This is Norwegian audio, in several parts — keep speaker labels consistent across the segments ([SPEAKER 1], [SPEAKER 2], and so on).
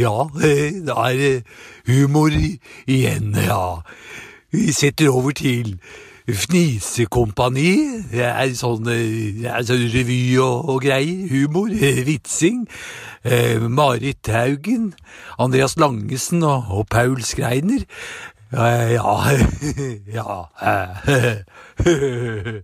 [SPEAKER 1] ja, eh, det er eh, humor i- igjen, ja. Vi setter over til Fnisekompani. Det er sånn, eh, det er sånn revy og, og greier. Humor, eh, vitsing. Eh, Marit Haugen, Andreas Langesen og, og Paul Skreiner. Eh, ja, ja. eh.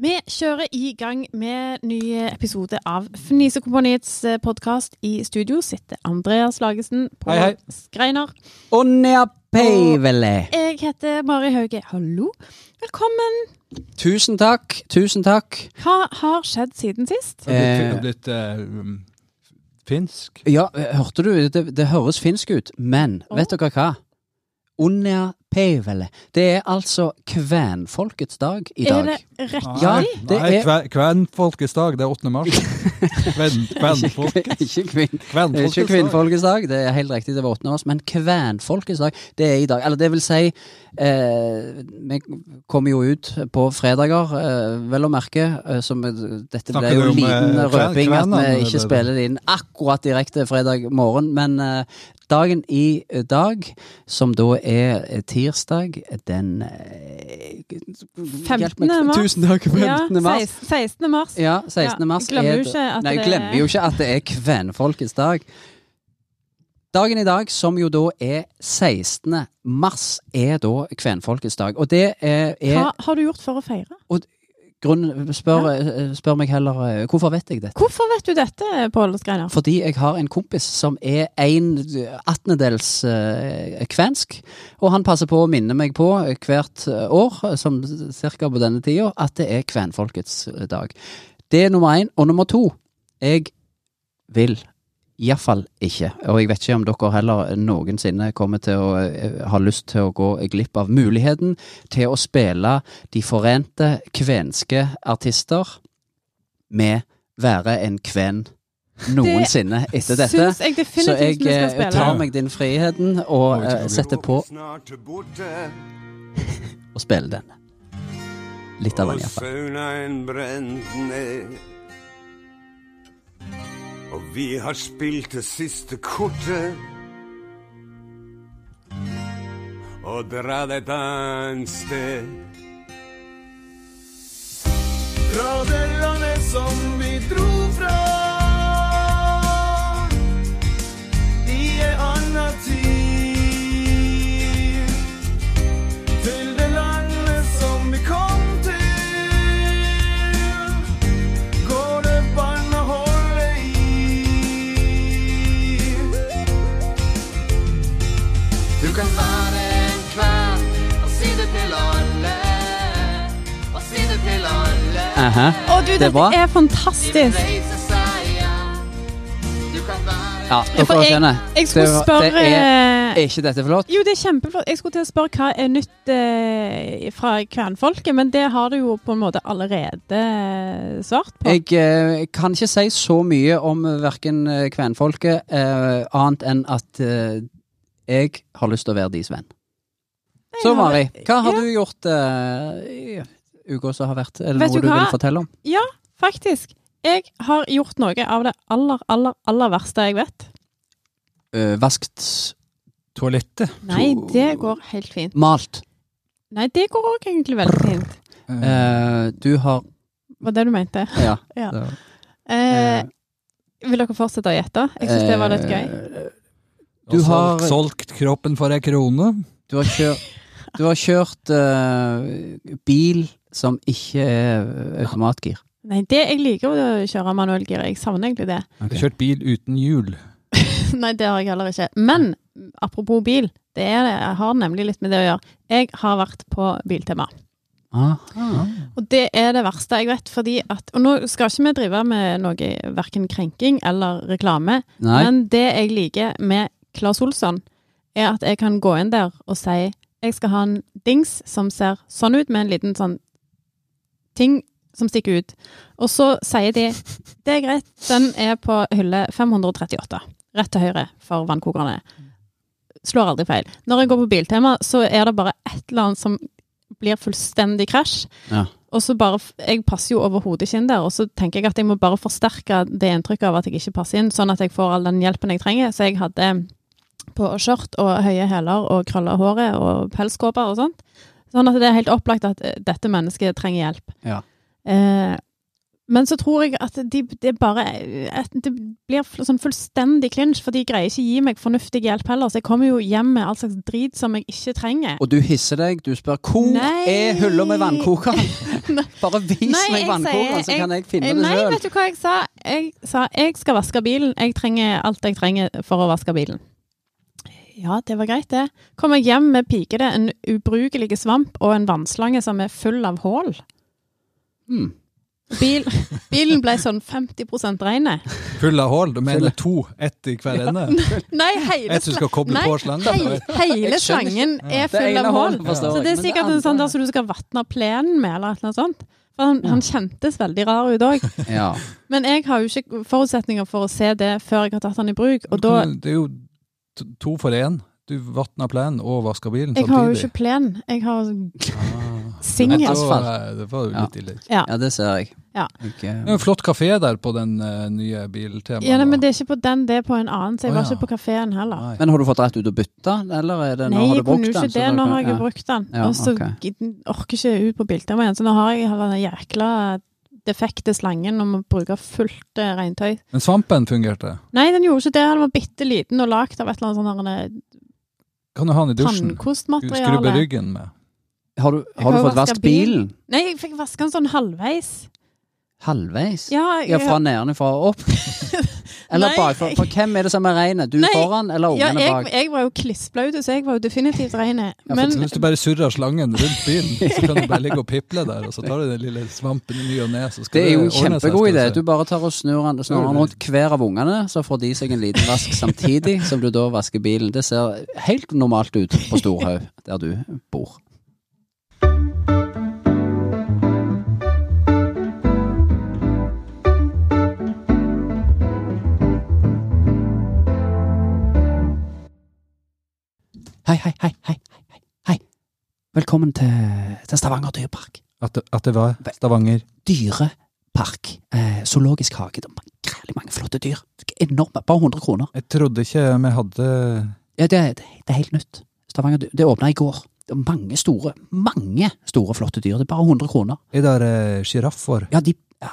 [SPEAKER 2] Vi kjører i gang med ny episode av Fnisekompaniets podkast. I studio sitter Andreas Lagesen på
[SPEAKER 3] Hei, hei.
[SPEAKER 2] Skreiner.
[SPEAKER 3] Og neapevele.
[SPEAKER 2] Jeg heter Mari Hauge. Hallo. Velkommen.
[SPEAKER 3] Tusen takk, tusen takk.
[SPEAKER 2] Hva har skjedd siden sist?
[SPEAKER 4] Det har
[SPEAKER 3] Eh.
[SPEAKER 4] blitt, det har blitt eh, um, finsk.
[SPEAKER 3] Ja, eh, hørte du? Det, det høres finsk ut, men
[SPEAKER 2] Åh.
[SPEAKER 3] vet dere hva? Neapevele. Det er altså kvenfolkets dag i
[SPEAKER 2] Er
[SPEAKER 3] dag.
[SPEAKER 2] det rett?
[SPEAKER 3] Ja, det
[SPEAKER 4] Nei,
[SPEAKER 3] er-
[SPEAKER 4] kve- kvenfolkets dag. Det er 8. mars. Kven, kvenfolkets
[SPEAKER 3] Ikke kvinn.
[SPEAKER 4] kvenfolkets
[SPEAKER 3] Ikke
[SPEAKER 4] dag.
[SPEAKER 3] kvinnfolkets dag, det er helt riktig, det var 8. mars, men kvenfolkets dag, det er i dag. Eller det vil si, eh, vi kommer jo ut på fredager, eh, vel å merke, eh, som eh, dette ble
[SPEAKER 4] Snakker
[SPEAKER 3] jo
[SPEAKER 4] du om,
[SPEAKER 3] en liten
[SPEAKER 4] eh, kven-
[SPEAKER 3] røping at
[SPEAKER 4] kvenene,
[SPEAKER 3] vi
[SPEAKER 4] eller?
[SPEAKER 3] ikke spiller det inn akkurat direkte fredag morgen, men eh, dagen i dag, som da er eh, tirsdag, den eh, hjelp
[SPEAKER 2] 15.
[SPEAKER 3] meg.
[SPEAKER 2] mars.
[SPEAKER 3] Tusen takk, 15.
[SPEAKER 2] Ja,
[SPEAKER 3] mars.
[SPEAKER 2] 16. 16. mars.
[SPEAKER 3] Ja, 16.
[SPEAKER 2] Ja,
[SPEAKER 3] mars
[SPEAKER 2] glemmer
[SPEAKER 3] er
[SPEAKER 2] jo
[SPEAKER 3] det-
[SPEAKER 2] ikke at
[SPEAKER 3] Nei, jeg
[SPEAKER 2] det-
[SPEAKER 3] glemmer jo ikke at det er kvenfolkets dag. Dagen i dag, som jo da er 16. mars, er da kvenfolkets dag. Og det er,
[SPEAKER 2] Hva
[SPEAKER 3] er
[SPEAKER 2] har du gjort for å feire?
[SPEAKER 3] grunn, spør, spør meg heller eh, Hvorfor vet jeg dette?
[SPEAKER 2] Hvorfor vet du dette, Pål Skreiner?
[SPEAKER 3] Fordi jeg har en kompis som er en attendedels eh, kvensk, og han passer på å minne meg på hvert eh, år, eh, som cirka på denne tida, at det er kvenfolkets eh, dag. Det er nummer én. Og nummer to, jeg vil iallfall ikke, og jeg vet ikke om dere heller noensinne kommer til å eh, ha lyst til å gå glipp av muligheten til å spille De forente kvenske artister med være en kven noensinne etter
[SPEAKER 2] Syns
[SPEAKER 3] dette.
[SPEAKER 2] jeg
[SPEAKER 3] Så jeg
[SPEAKER 2] definitivt vi skal
[SPEAKER 3] eh,
[SPEAKER 2] spille.
[SPEAKER 3] tar meg din friheten og eh, setter på
[SPEAKER 5] Snart borte,
[SPEAKER 3] og spiller den. Litt av
[SPEAKER 5] og
[SPEAKER 3] den, iallfall.
[SPEAKER 5] saunaen brent ned. Og vi har spilt det siste kortet. Og dratt et annet sted. Fra det landet som vi dro fra. I ei anna tid. Til det landet som vi kom til Går det vann å holde i
[SPEAKER 6] Du kan være en kvern og si det til alle. Og si det til alle.
[SPEAKER 3] Aha.
[SPEAKER 2] Å, du,
[SPEAKER 3] Det er
[SPEAKER 2] dette
[SPEAKER 3] bra.
[SPEAKER 2] er
[SPEAKER 6] De vil
[SPEAKER 2] fantastisk!
[SPEAKER 6] reise seg, ja. Du kan være
[SPEAKER 3] Ja,
[SPEAKER 2] For
[SPEAKER 3] dere
[SPEAKER 2] jeg,
[SPEAKER 3] skjønner.
[SPEAKER 2] jeg skulle
[SPEAKER 3] Det var-
[SPEAKER 2] spørre
[SPEAKER 3] det er- Er ikke dette flott?
[SPEAKER 2] Jo, det er kjempeflott. Jeg skulle til å spørre hva er nytt eh, fra kvenfolket, men det har du jo på en måte allerede svart på.
[SPEAKER 3] Jeg eh, kan ikke si så mye om verken kvenfolket, eh, annet enn at eh, jeg har lyst til å være deres venn. Så
[SPEAKER 2] har-
[SPEAKER 3] Mari, hva har
[SPEAKER 2] ja.
[SPEAKER 3] du gjort eh, i uka som har vært? Er det
[SPEAKER 2] Vet
[SPEAKER 3] noe
[SPEAKER 2] du
[SPEAKER 3] du vil
[SPEAKER 2] hva?
[SPEAKER 3] fortelle om?
[SPEAKER 2] Faktisk. Jeg har gjort noe av det aller, aller, aller verste jeg vet.
[SPEAKER 3] Eh, vaskt,
[SPEAKER 4] Toalettet.
[SPEAKER 2] Nei, det går helt fint.
[SPEAKER 3] malt.
[SPEAKER 2] Nei, det går òg egentlig veldig fint.
[SPEAKER 4] Eh,
[SPEAKER 3] Eh, du har
[SPEAKER 2] Var det du mente?
[SPEAKER 3] Ja.
[SPEAKER 2] Ja.
[SPEAKER 3] det var-
[SPEAKER 2] Eh, vil dere fortsette å gjette? Jeg syns det var litt gøy.
[SPEAKER 3] Eh,
[SPEAKER 4] og
[SPEAKER 3] Du har-
[SPEAKER 4] solgt, solgt kroppen for ei krone.
[SPEAKER 3] Du har kjørt, du har kjørt eh, bil som ikke er automatgir.
[SPEAKER 2] Nei, det jeg liker å kjøre manuellgir. Jeg savner egentlig det.
[SPEAKER 4] Jeg har kjørt bil uten hjul.
[SPEAKER 2] Nei, det har jeg heller ikke. Men apropos bil, det er, jeg har nemlig litt med det å gjøre. Jeg har vært på Biltema.
[SPEAKER 3] Aha.
[SPEAKER 2] Og det er det verste jeg vet, fordi at Og nå skal ikke vi drive med noe verken krenking eller reklame,
[SPEAKER 3] Nei.
[SPEAKER 2] men det jeg liker med Claes Olsson, er at jeg kan gå inn der og si jeg skal ha en dings som ser sånn ut, med en liten sånn ting som stikker ut. Og så sier de det er greit, den er på hylle 538. Rett til høyre for vannkokerne. Slår aldri feil. Når jeg går på Biltema, så er det bare et eller annet som blir fullstendig krasj.
[SPEAKER 3] Ja.
[SPEAKER 2] Og så bare, f- Jeg passer jo overhodet ikke inn der, og så tenker jeg at jeg må bare forsterke det inntrykket av at jeg ikke passer inn, sånn at jeg får all den hjelpen jeg trenger. Så jeg hadde på skjørt og høye hæler og krølla håret og pelskåper og sånt. Sånn at det er helt opplagt at eh, dette mennesket trenger hjelp.
[SPEAKER 3] Ja.
[SPEAKER 2] Eh, men så tror jeg at de, det bare at Det blir fl- sånn fullstendig klinsj, for de greier ikke gi meg fornuftig hjelp heller. Så jeg kommer jo hjem med all slags drit som jeg ikke trenger.
[SPEAKER 3] Og du hisser deg, du spør hvor
[SPEAKER 2] Nei.
[SPEAKER 3] er hylla med vannkokeren?
[SPEAKER 2] Nei.
[SPEAKER 3] Bare vis
[SPEAKER 2] Nei,
[SPEAKER 3] meg
[SPEAKER 2] jeg
[SPEAKER 3] vannkokeren,
[SPEAKER 2] sier-
[SPEAKER 3] så kan jeg finne
[SPEAKER 2] Eh,
[SPEAKER 3] det
[SPEAKER 2] Nei,
[SPEAKER 3] sjøl.
[SPEAKER 2] vet du hva jeg sa? Jeg sa jeg skal vaske bilen. Jeg trenger alt jeg trenger for å vaske bilen. Ja, det var greit, det. Kom jeg hjem med pikete, en ubrukelig svamp og en vannslange som er full av hull.
[SPEAKER 3] Mm.
[SPEAKER 2] Bil, bilen ble sånn 50 reine.
[SPEAKER 4] Full av hull. Du mener to, ett i hver ende?
[SPEAKER 2] Nei, hele
[SPEAKER 4] Ett som skal koble
[SPEAKER 2] Nei,
[SPEAKER 4] på slangen?
[SPEAKER 2] Hei, hele
[SPEAKER 3] Jeg skjønner
[SPEAKER 2] slangen er
[SPEAKER 3] Det
[SPEAKER 2] full
[SPEAKER 3] ene
[SPEAKER 2] av hull.
[SPEAKER 3] hånden forstår
[SPEAKER 2] Så
[SPEAKER 3] jeg,
[SPEAKER 2] det er
[SPEAKER 3] men
[SPEAKER 2] sikkert en sånn
[SPEAKER 3] andre-
[SPEAKER 2] der som du skal vatne plenen med, eller et eller annet sånt. For han, han kjentes veldig rar ut òg.
[SPEAKER 3] Ja.
[SPEAKER 2] Men jeg har jo ikke forutsetninger for å se det før jeg har tatt den i bruk, og da
[SPEAKER 4] Men Det er jo to- to for én. Du vatner plenen og vasker bilen
[SPEAKER 2] Jeg har jo
[SPEAKER 4] samtidig.
[SPEAKER 2] ikke plen, jeg har
[SPEAKER 4] Ah.
[SPEAKER 2] singel.
[SPEAKER 4] Da,
[SPEAKER 3] Asfalt.
[SPEAKER 4] eh, Det var jo litt ille.
[SPEAKER 3] ja, det ser jeg.
[SPEAKER 2] Ja.
[SPEAKER 3] Jeg,
[SPEAKER 4] Det er jo en flott kafé der på den eh, nye biltemaet.
[SPEAKER 2] Ja, nei, men det er ikke på den, det er på en annen, så jeg
[SPEAKER 4] Å,
[SPEAKER 2] var
[SPEAKER 4] ja.
[SPEAKER 2] ikke på kafeen heller.
[SPEAKER 4] Nei.
[SPEAKER 3] Men har du fått rett ut og bytta, eller er det, nå
[SPEAKER 2] Nei,
[SPEAKER 3] har
[SPEAKER 2] jeg
[SPEAKER 3] du brukt
[SPEAKER 2] kunne jo
[SPEAKER 3] den?
[SPEAKER 2] ikke
[SPEAKER 3] så
[SPEAKER 2] det,
[SPEAKER 3] da
[SPEAKER 2] nå
[SPEAKER 3] kan-
[SPEAKER 2] har jeg
[SPEAKER 3] ja.
[SPEAKER 2] jo brukt den.
[SPEAKER 3] Ja,
[SPEAKER 2] Og så
[SPEAKER 3] ok.
[SPEAKER 2] gidden- orker ikke jeg ut på Biltema igjen, så nå har jeg den jækla defekte slangen om å bruke fullt eh, regntøy.
[SPEAKER 4] Men svampen fungerte.
[SPEAKER 2] Nei, den gjorde ikke det, den var bitte liten og lagd av et eller annet sånn
[SPEAKER 4] Kan du ha
[SPEAKER 2] her, eh,
[SPEAKER 4] den i dusjen? Du Skrubbe
[SPEAKER 2] tannkostmateriale.
[SPEAKER 4] ryggen med.
[SPEAKER 3] Har du,
[SPEAKER 2] Jeg
[SPEAKER 3] har du
[SPEAKER 2] har jo
[SPEAKER 3] fått
[SPEAKER 2] vasket
[SPEAKER 3] vasket bilen?
[SPEAKER 2] Nei, jeg fikk vaske den sånn halvveis.
[SPEAKER 3] Halvveis?
[SPEAKER 2] Ja, jeg,
[SPEAKER 3] Ja, fra nedenfra og opp? Eller
[SPEAKER 2] Nei,
[SPEAKER 3] bakfra?
[SPEAKER 2] jeg-
[SPEAKER 3] For hvem er det som er regnet? Du
[SPEAKER 2] Nei,
[SPEAKER 3] foran, eller
[SPEAKER 2] ja,
[SPEAKER 3] ungene
[SPEAKER 2] jeg,
[SPEAKER 3] bak?
[SPEAKER 2] jeg var jo klissblaut, så jeg var jo definitivt rein.
[SPEAKER 3] for
[SPEAKER 2] Men
[SPEAKER 4] Så hvis du bare surrer slangen rundt bilen, så kan du bare ligge og piple der, og så tar du den lille svampen i ny og ne, så skal
[SPEAKER 3] Det er jo en
[SPEAKER 4] ordne seg,
[SPEAKER 3] kjempegod idé.
[SPEAKER 4] skal
[SPEAKER 3] Du bare tar og snur den, snur den rundt hver av ungene, så får de seg en liten vask samtidig som du da vasker bilen. Det ser helt normalt ut på Storhaug, der du bor. Hei, hei, hei, hei, hei, hei, hei. Velkommen til, til Stavanger dyrepark
[SPEAKER 4] At, det- at det var Stavanger.
[SPEAKER 3] dyrepark. Eh, zoologisk hage. Det er Grælig mange flotte dyr. Enorme. Bare 100 kroner.
[SPEAKER 4] Jeg trodde ikke vi hadde
[SPEAKER 3] Ja, det, er- det er helt nytt. Stavanger, dy- Det åpna i går. Det er mange store, mange store, flotte dyr. Det er bare 100 kroner.
[SPEAKER 4] Er det eh, sjiraffer?
[SPEAKER 3] Ja, de, ah,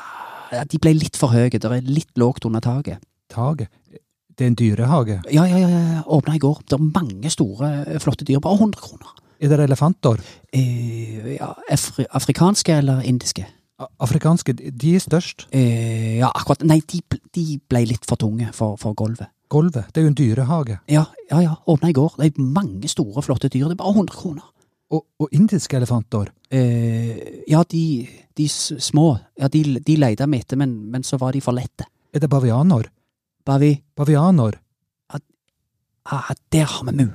[SPEAKER 3] ja, de ble litt for høye. Det er litt lågt under taket.
[SPEAKER 4] Tage? Det er en dyrehage.
[SPEAKER 3] Ja, ja, ja. ja, Åpna i går. Det er mange store, eh, flotte dyr. Bare 100 kroner.
[SPEAKER 4] Er det elefanter?
[SPEAKER 3] Eh, ja, afri afrikanske eller indiske?
[SPEAKER 4] A- Afrikanske, de er størst.
[SPEAKER 3] Eh, ja, akkurat. Nei, de, bl- de ble litt for tunge for, for gulvet.
[SPEAKER 4] Gulvet, det er jo en dyrehage.
[SPEAKER 3] Ja, ja, ja. Åpna i går. Det er mange store, flotte dyr. Det er bare 100 kroner.
[SPEAKER 4] Og, og indiske elefanter?
[SPEAKER 3] Eh, ja, de, de s- små, ja, de, de leita vi etter, men, men så var de for lette.
[SPEAKER 4] Er det bavianer?
[SPEAKER 3] Bare vi
[SPEAKER 4] Bavianer?
[SPEAKER 3] ah, Der har vi mu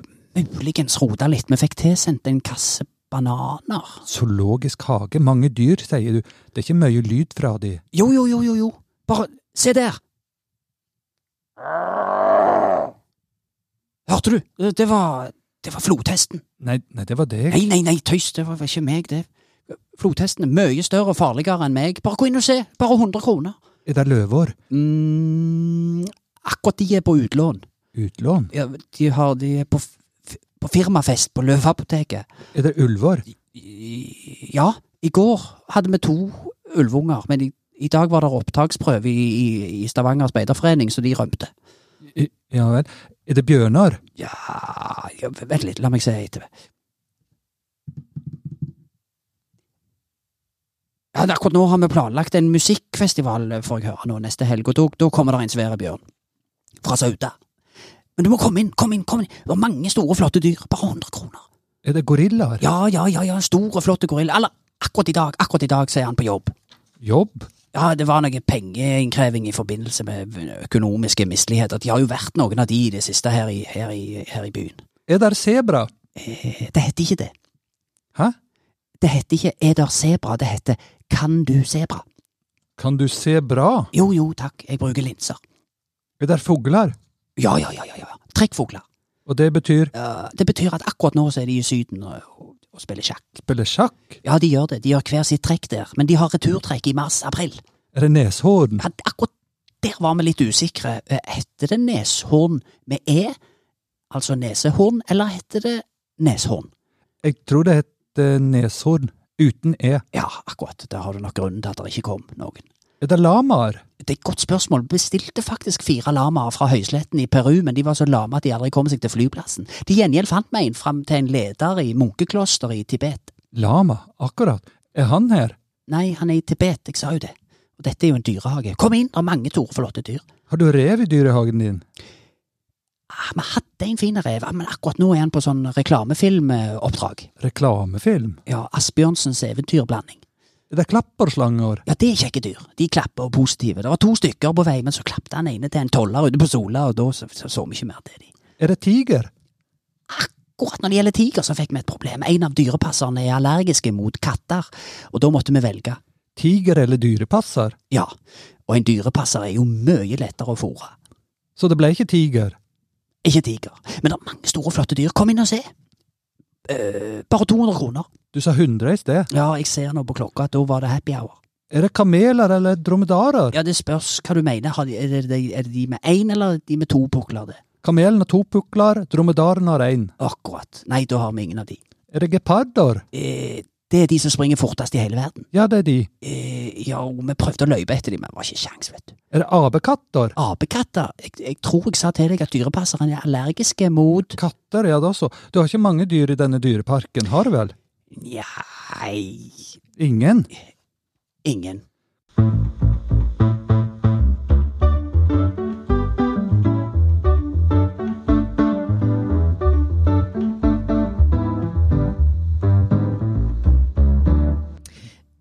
[SPEAKER 3] muligens rota litt. Vi fikk tilsendt en kasse bananer.
[SPEAKER 4] Zoologisk hage? Mange dyr, sier du. Det er ikke mye lyd fra de.
[SPEAKER 3] Jo, jo, jo, jo, jo. Bare se der! Hørte du? Det- Det var, det var flodhesten.
[SPEAKER 4] Nei, nei det var deg.
[SPEAKER 3] Nei, nei, nei, tøys, det var var ikke meg, det. Flodhesten er mye større og farligere enn meg. Bare gå inn og se. Bare 100 kroner.
[SPEAKER 4] Er det løver?
[SPEAKER 3] Mm, akkurat de er på utlån.
[SPEAKER 4] Utlån?
[SPEAKER 3] Ja, de, har, de er på, f- f- på firmafest på Løveapoteket.
[SPEAKER 4] Er det ulver?
[SPEAKER 3] I- Ja, i går hadde vi to ulvunger, men i, i dag var det opptaksprøve i, i, i Stavanger speiderforening, så de rømte.
[SPEAKER 4] I- Ja vel. Er det bjørner?
[SPEAKER 3] Ja, ja Vent litt, la meg se etter. Ja, akkurat nå har vi planlagt en musikkfestival, eh, får jeg høre nå neste helg, og da, da kommer det en svær bjørn. Fra Sauda. Men du må komme inn, kom inn, kom inn! Det var mange store, flotte dyr. Bare 100 kroner.
[SPEAKER 4] Er det gorillaer?
[SPEAKER 3] Ja, ja, ja, ja, store, flotte gorilla. Eller akkurat i dag, akkurat i dag, så er han på jobb.
[SPEAKER 4] Jobb?
[SPEAKER 3] Ja, det var noe pengeinnkreving i forbindelse med økonomiske misligheter. De har jo vært noen av de i det siste her i, her i, her i byen.
[SPEAKER 4] Er det sebra?
[SPEAKER 3] Eh, Det heter ikke det.
[SPEAKER 4] Hæ?
[SPEAKER 3] Det heter ikke 'er der sebra', det heter Kan du se bra?
[SPEAKER 4] Kan du se bra?
[SPEAKER 3] Jo, jo, takk, jeg bruker linser.
[SPEAKER 4] Er det fugler?
[SPEAKER 3] Ja, ja, ja, ja, ja. trekkfugler.
[SPEAKER 4] Og det betyr
[SPEAKER 3] Eh, det betyr at akkurat nå så er de i Syden og, og, og spiller sjakk.
[SPEAKER 4] spille sjakk?
[SPEAKER 3] Ja, de gjør det, de gjør hver sitt trekk der, men de har returtrekk i mars-april.
[SPEAKER 4] Er det neshorn?
[SPEAKER 3] Ja, akkurat der var vi litt usikre. Eh, Heter det neshorn med e, altså nesehorn, eller heter det neshorn?
[SPEAKER 4] Jeg tror det heter neshorn uten e.
[SPEAKER 3] Ja, akkurat, der har du nok grunnen til at det ikke kom noen.
[SPEAKER 4] Er det lamaer?
[SPEAKER 3] Det er et godt spørsmål. Bestilte faktisk fire lamaer fra høysletten i Peru, men de var så lame at de aldri kom seg til flyplassen. Til gjengjeld fant vi en fram til en leder i munkekloster i Tibet.
[SPEAKER 4] Lama, akkurat. Er han her?
[SPEAKER 3] Nei, han er i Tibet, jeg sa jo det. Og dette er jo en dyrehage. Kom inn, det er mange store, flotte dyr.
[SPEAKER 4] Har du rev i dyrehagen din?
[SPEAKER 3] Ah, vi hadde en fin rev, ah, men akkurat nå er han på sånn reklamefilmoppdrag.
[SPEAKER 4] Reklamefilm?
[SPEAKER 3] Ja, Asbjørnsens eventyrblanding.
[SPEAKER 4] Er det klapperslanger?
[SPEAKER 3] Ja, det er kjekke dyr. De klapper og er positive. Det var to stykker på vei, men så klappet han ene til en toller ute på Sola, og da så, så, så vi ikke mer til de.
[SPEAKER 4] Er det tiger?
[SPEAKER 3] Akkurat når det gjelder tiger, så fikk vi et problem. En av dyrepasserne er allergiske mot katter, og da måtte vi velge.
[SPEAKER 4] Tiger eller dyrepasser?
[SPEAKER 3] Ja, og en dyrepasser er jo mye lettere å fôre.
[SPEAKER 4] Så det ble ikke tiger.
[SPEAKER 3] Ikke tiger, men det er mange store, flotte dyr. Kom inn og se. Eh, bare 200 kroner.
[SPEAKER 4] Du sa 100 i sted.
[SPEAKER 3] Ja, jeg ser nå på klokka at da var det happy hour.
[SPEAKER 4] Er det kameler eller dromedarer?
[SPEAKER 3] Ja, det spørs hva du mener. Har de, er, det, de- er det de med én eller de med to pukler, det?
[SPEAKER 4] Kamelen har to pukler, dromedaren har én.
[SPEAKER 3] Akkurat. Nei, da har vi ingen av de.
[SPEAKER 4] Er det geparder?
[SPEAKER 3] Eh, det er de som springer fortest i hele verden.
[SPEAKER 4] Ja, det er de.
[SPEAKER 3] Eh, ja, og vi prøvde å løpe etter de, men det var ikke kjangs, vet du.
[SPEAKER 4] Er det apekatter?
[SPEAKER 3] Apekatter? Jeg, jeg tror jeg sa til deg at dyrepasserne er allergiske mot
[SPEAKER 4] Katter, ja da så. Du har ikke mange dyr i denne dyreparken, har du vel?
[SPEAKER 3] Nei
[SPEAKER 4] Ingen?
[SPEAKER 3] Ingen.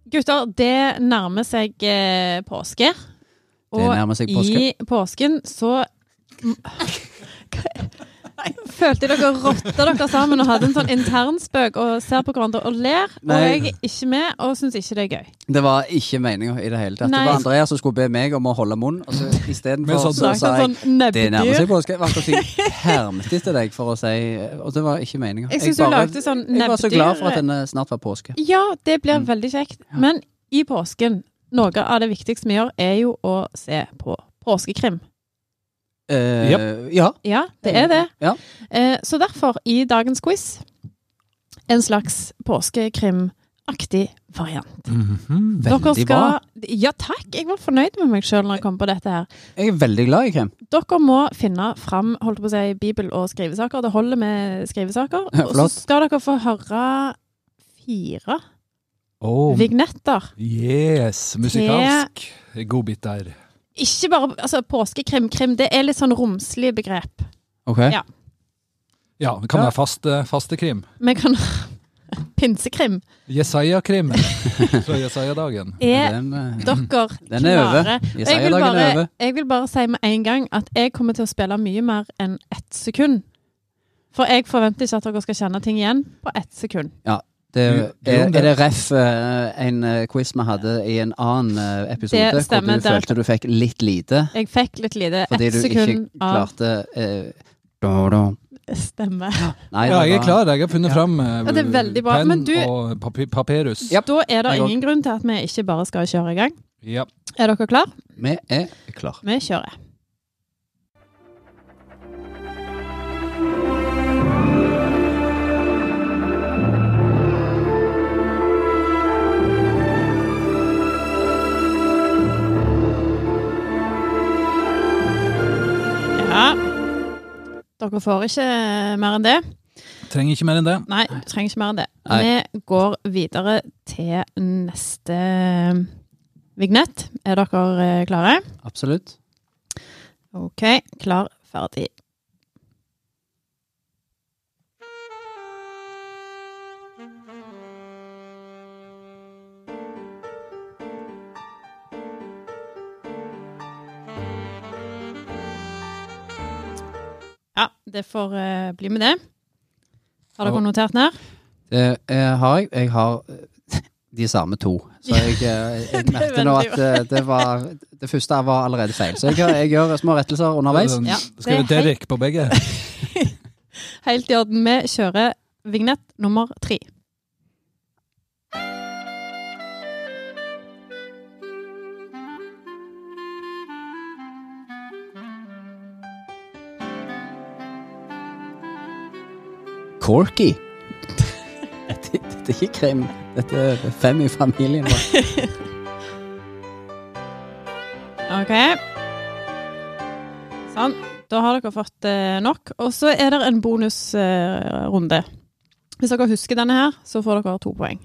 [SPEAKER 2] Gutter, det nærmer seg eh, påske. Og
[SPEAKER 3] nærmer seg påske.
[SPEAKER 2] i påsken så Følte dere rotta dere sammen og hadde en sånn internspøk og ser på hverandre og ler. Og
[SPEAKER 3] Nei.
[SPEAKER 2] jeg er ikke med og syns ikke det er gøy.
[SPEAKER 3] Det var ikke meninga i det hele tatt.
[SPEAKER 2] Nei.
[SPEAKER 3] Det var Andreas som skulle be meg om å holde munn, og så
[SPEAKER 4] Men
[SPEAKER 3] istedenfor
[SPEAKER 4] sånn-
[SPEAKER 3] så
[SPEAKER 2] Snakk
[SPEAKER 3] sa
[SPEAKER 2] om
[SPEAKER 3] jeg
[SPEAKER 2] sånn
[SPEAKER 3] det nærmer seg
[SPEAKER 2] nebbdyr.
[SPEAKER 3] påske. Jeg var akkurat sånn hermet etter deg for å si Og det var ikke meninga.
[SPEAKER 2] Jeg synes du lagde sånn
[SPEAKER 3] Jeg var så
[SPEAKER 2] nebbdyr-
[SPEAKER 3] glad for at Mm. denne snart var påske.
[SPEAKER 2] Ja, det blir veldig kjekt. Men i påsken, noe av det viktigste vi gjør, er jo å se på påskekrim.
[SPEAKER 3] Eh,
[SPEAKER 4] Japp.
[SPEAKER 3] Ja.
[SPEAKER 2] Ja, det er det.
[SPEAKER 3] Ja.
[SPEAKER 2] Eh, Så derfor, i dagens quiz, en slags påskekrimaktig variant.
[SPEAKER 3] Mhm.
[SPEAKER 2] Dere
[SPEAKER 3] Veldig bra.
[SPEAKER 2] skal Ja, takk. Jeg var fornøyd med meg sjøl når jeg kom på dette her.
[SPEAKER 3] Jeg er veldig glad i krem.
[SPEAKER 2] Dere må finne fram holdt på å si, bibel og skrivesaker. Det holder med skrivesaker.
[SPEAKER 3] Ja,
[SPEAKER 2] Og så
[SPEAKER 3] flott.
[SPEAKER 2] skal dere få høre fire
[SPEAKER 4] Oh,
[SPEAKER 2] vignetter.
[SPEAKER 4] yes, musikalsk. God bit der.
[SPEAKER 2] Ikke bare altså, påskekrim. Krim, det er litt sånn romslig begrep.
[SPEAKER 3] Ok.
[SPEAKER 2] Ja.
[SPEAKER 4] Ja, det kan være faste, faste krim.
[SPEAKER 2] Vi kan Pinsekrim.
[SPEAKER 4] Jesaja-krim fra Jesaja-dagen.
[SPEAKER 2] Er
[SPEAKER 3] Den, eh,
[SPEAKER 2] dere
[SPEAKER 3] Den er over.
[SPEAKER 2] klare?
[SPEAKER 3] Jeg
[SPEAKER 2] Og
[SPEAKER 3] sier
[SPEAKER 2] vil,
[SPEAKER 3] dagen er
[SPEAKER 2] bare,
[SPEAKER 3] over.
[SPEAKER 2] jeg vil bare si med en gang at jeg kommer til å spille mye mer enn ett sekund. For jeg forventer ikke at dere skal kjenne ting igjen på ett sekund.
[SPEAKER 3] Det,
[SPEAKER 4] Jo, jo,
[SPEAKER 3] er,
[SPEAKER 4] det-
[SPEAKER 3] er det ref eh, en eh, quiz vi hadde i en annen eh, episode,
[SPEAKER 2] Det stemmer,
[SPEAKER 3] hvor du
[SPEAKER 2] der-
[SPEAKER 3] følte du fikk litt lite
[SPEAKER 2] Jeg fikk litt lite
[SPEAKER 3] fordi
[SPEAKER 2] ett
[SPEAKER 3] du ikke
[SPEAKER 2] sekund av
[SPEAKER 3] klarte eh, dun, dun.
[SPEAKER 2] stemme.
[SPEAKER 3] Nei,
[SPEAKER 4] Ja,
[SPEAKER 3] det
[SPEAKER 4] jeg er
[SPEAKER 3] var-
[SPEAKER 4] klar. Jeg har funnet fram eh,
[SPEAKER 2] Ja, det er veldig bra, men
[SPEAKER 4] penn
[SPEAKER 2] du-
[SPEAKER 4] og papi- papirus.
[SPEAKER 3] Ja.
[SPEAKER 2] Da er det
[SPEAKER 3] Jeg går.
[SPEAKER 2] ingen grunn til at vi ikke bare skal kjøre i gang.
[SPEAKER 4] Ja.
[SPEAKER 2] Er dere klar?
[SPEAKER 3] Vi er klar.
[SPEAKER 2] Vi kjører. Ja. Dere får ikke eh, mer enn det.
[SPEAKER 4] Trenger ikke mer enn det.
[SPEAKER 2] Nei, du trenger ikke mer enn det.
[SPEAKER 3] Nei.
[SPEAKER 2] Vi går videre til neste eh, vignett. Er dere eh, klare?
[SPEAKER 3] Absolutt.
[SPEAKER 2] Ok, klar, ferdig. Ja, det får eh, bli med det. Har
[SPEAKER 3] Ja.
[SPEAKER 2] dere notert ned?
[SPEAKER 3] eh, Det eh, har jeg. Jeg har de samme to. Så jeg, eh, jeg merket nå at eh, det var Det første var allerede feil. Så jeg, jeg gjør små rettelser underveis.
[SPEAKER 4] Den-
[SPEAKER 2] Ja,
[SPEAKER 4] Skriver
[SPEAKER 2] det er
[SPEAKER 4] Um, Derek på begge.
[SPEAKER 2] Helt i orden. Vi kjører vignett nummer tre.
[SPEAKER 3] Corky. Dette, dette er ikke krim. Dette er fem i familien vår.
[SPEAKER 2] Ok. Sånn. Da har dere fått eh, nok. Og så er det en bonusrunde. Hvis dere husker denne her, så får dere to poeng.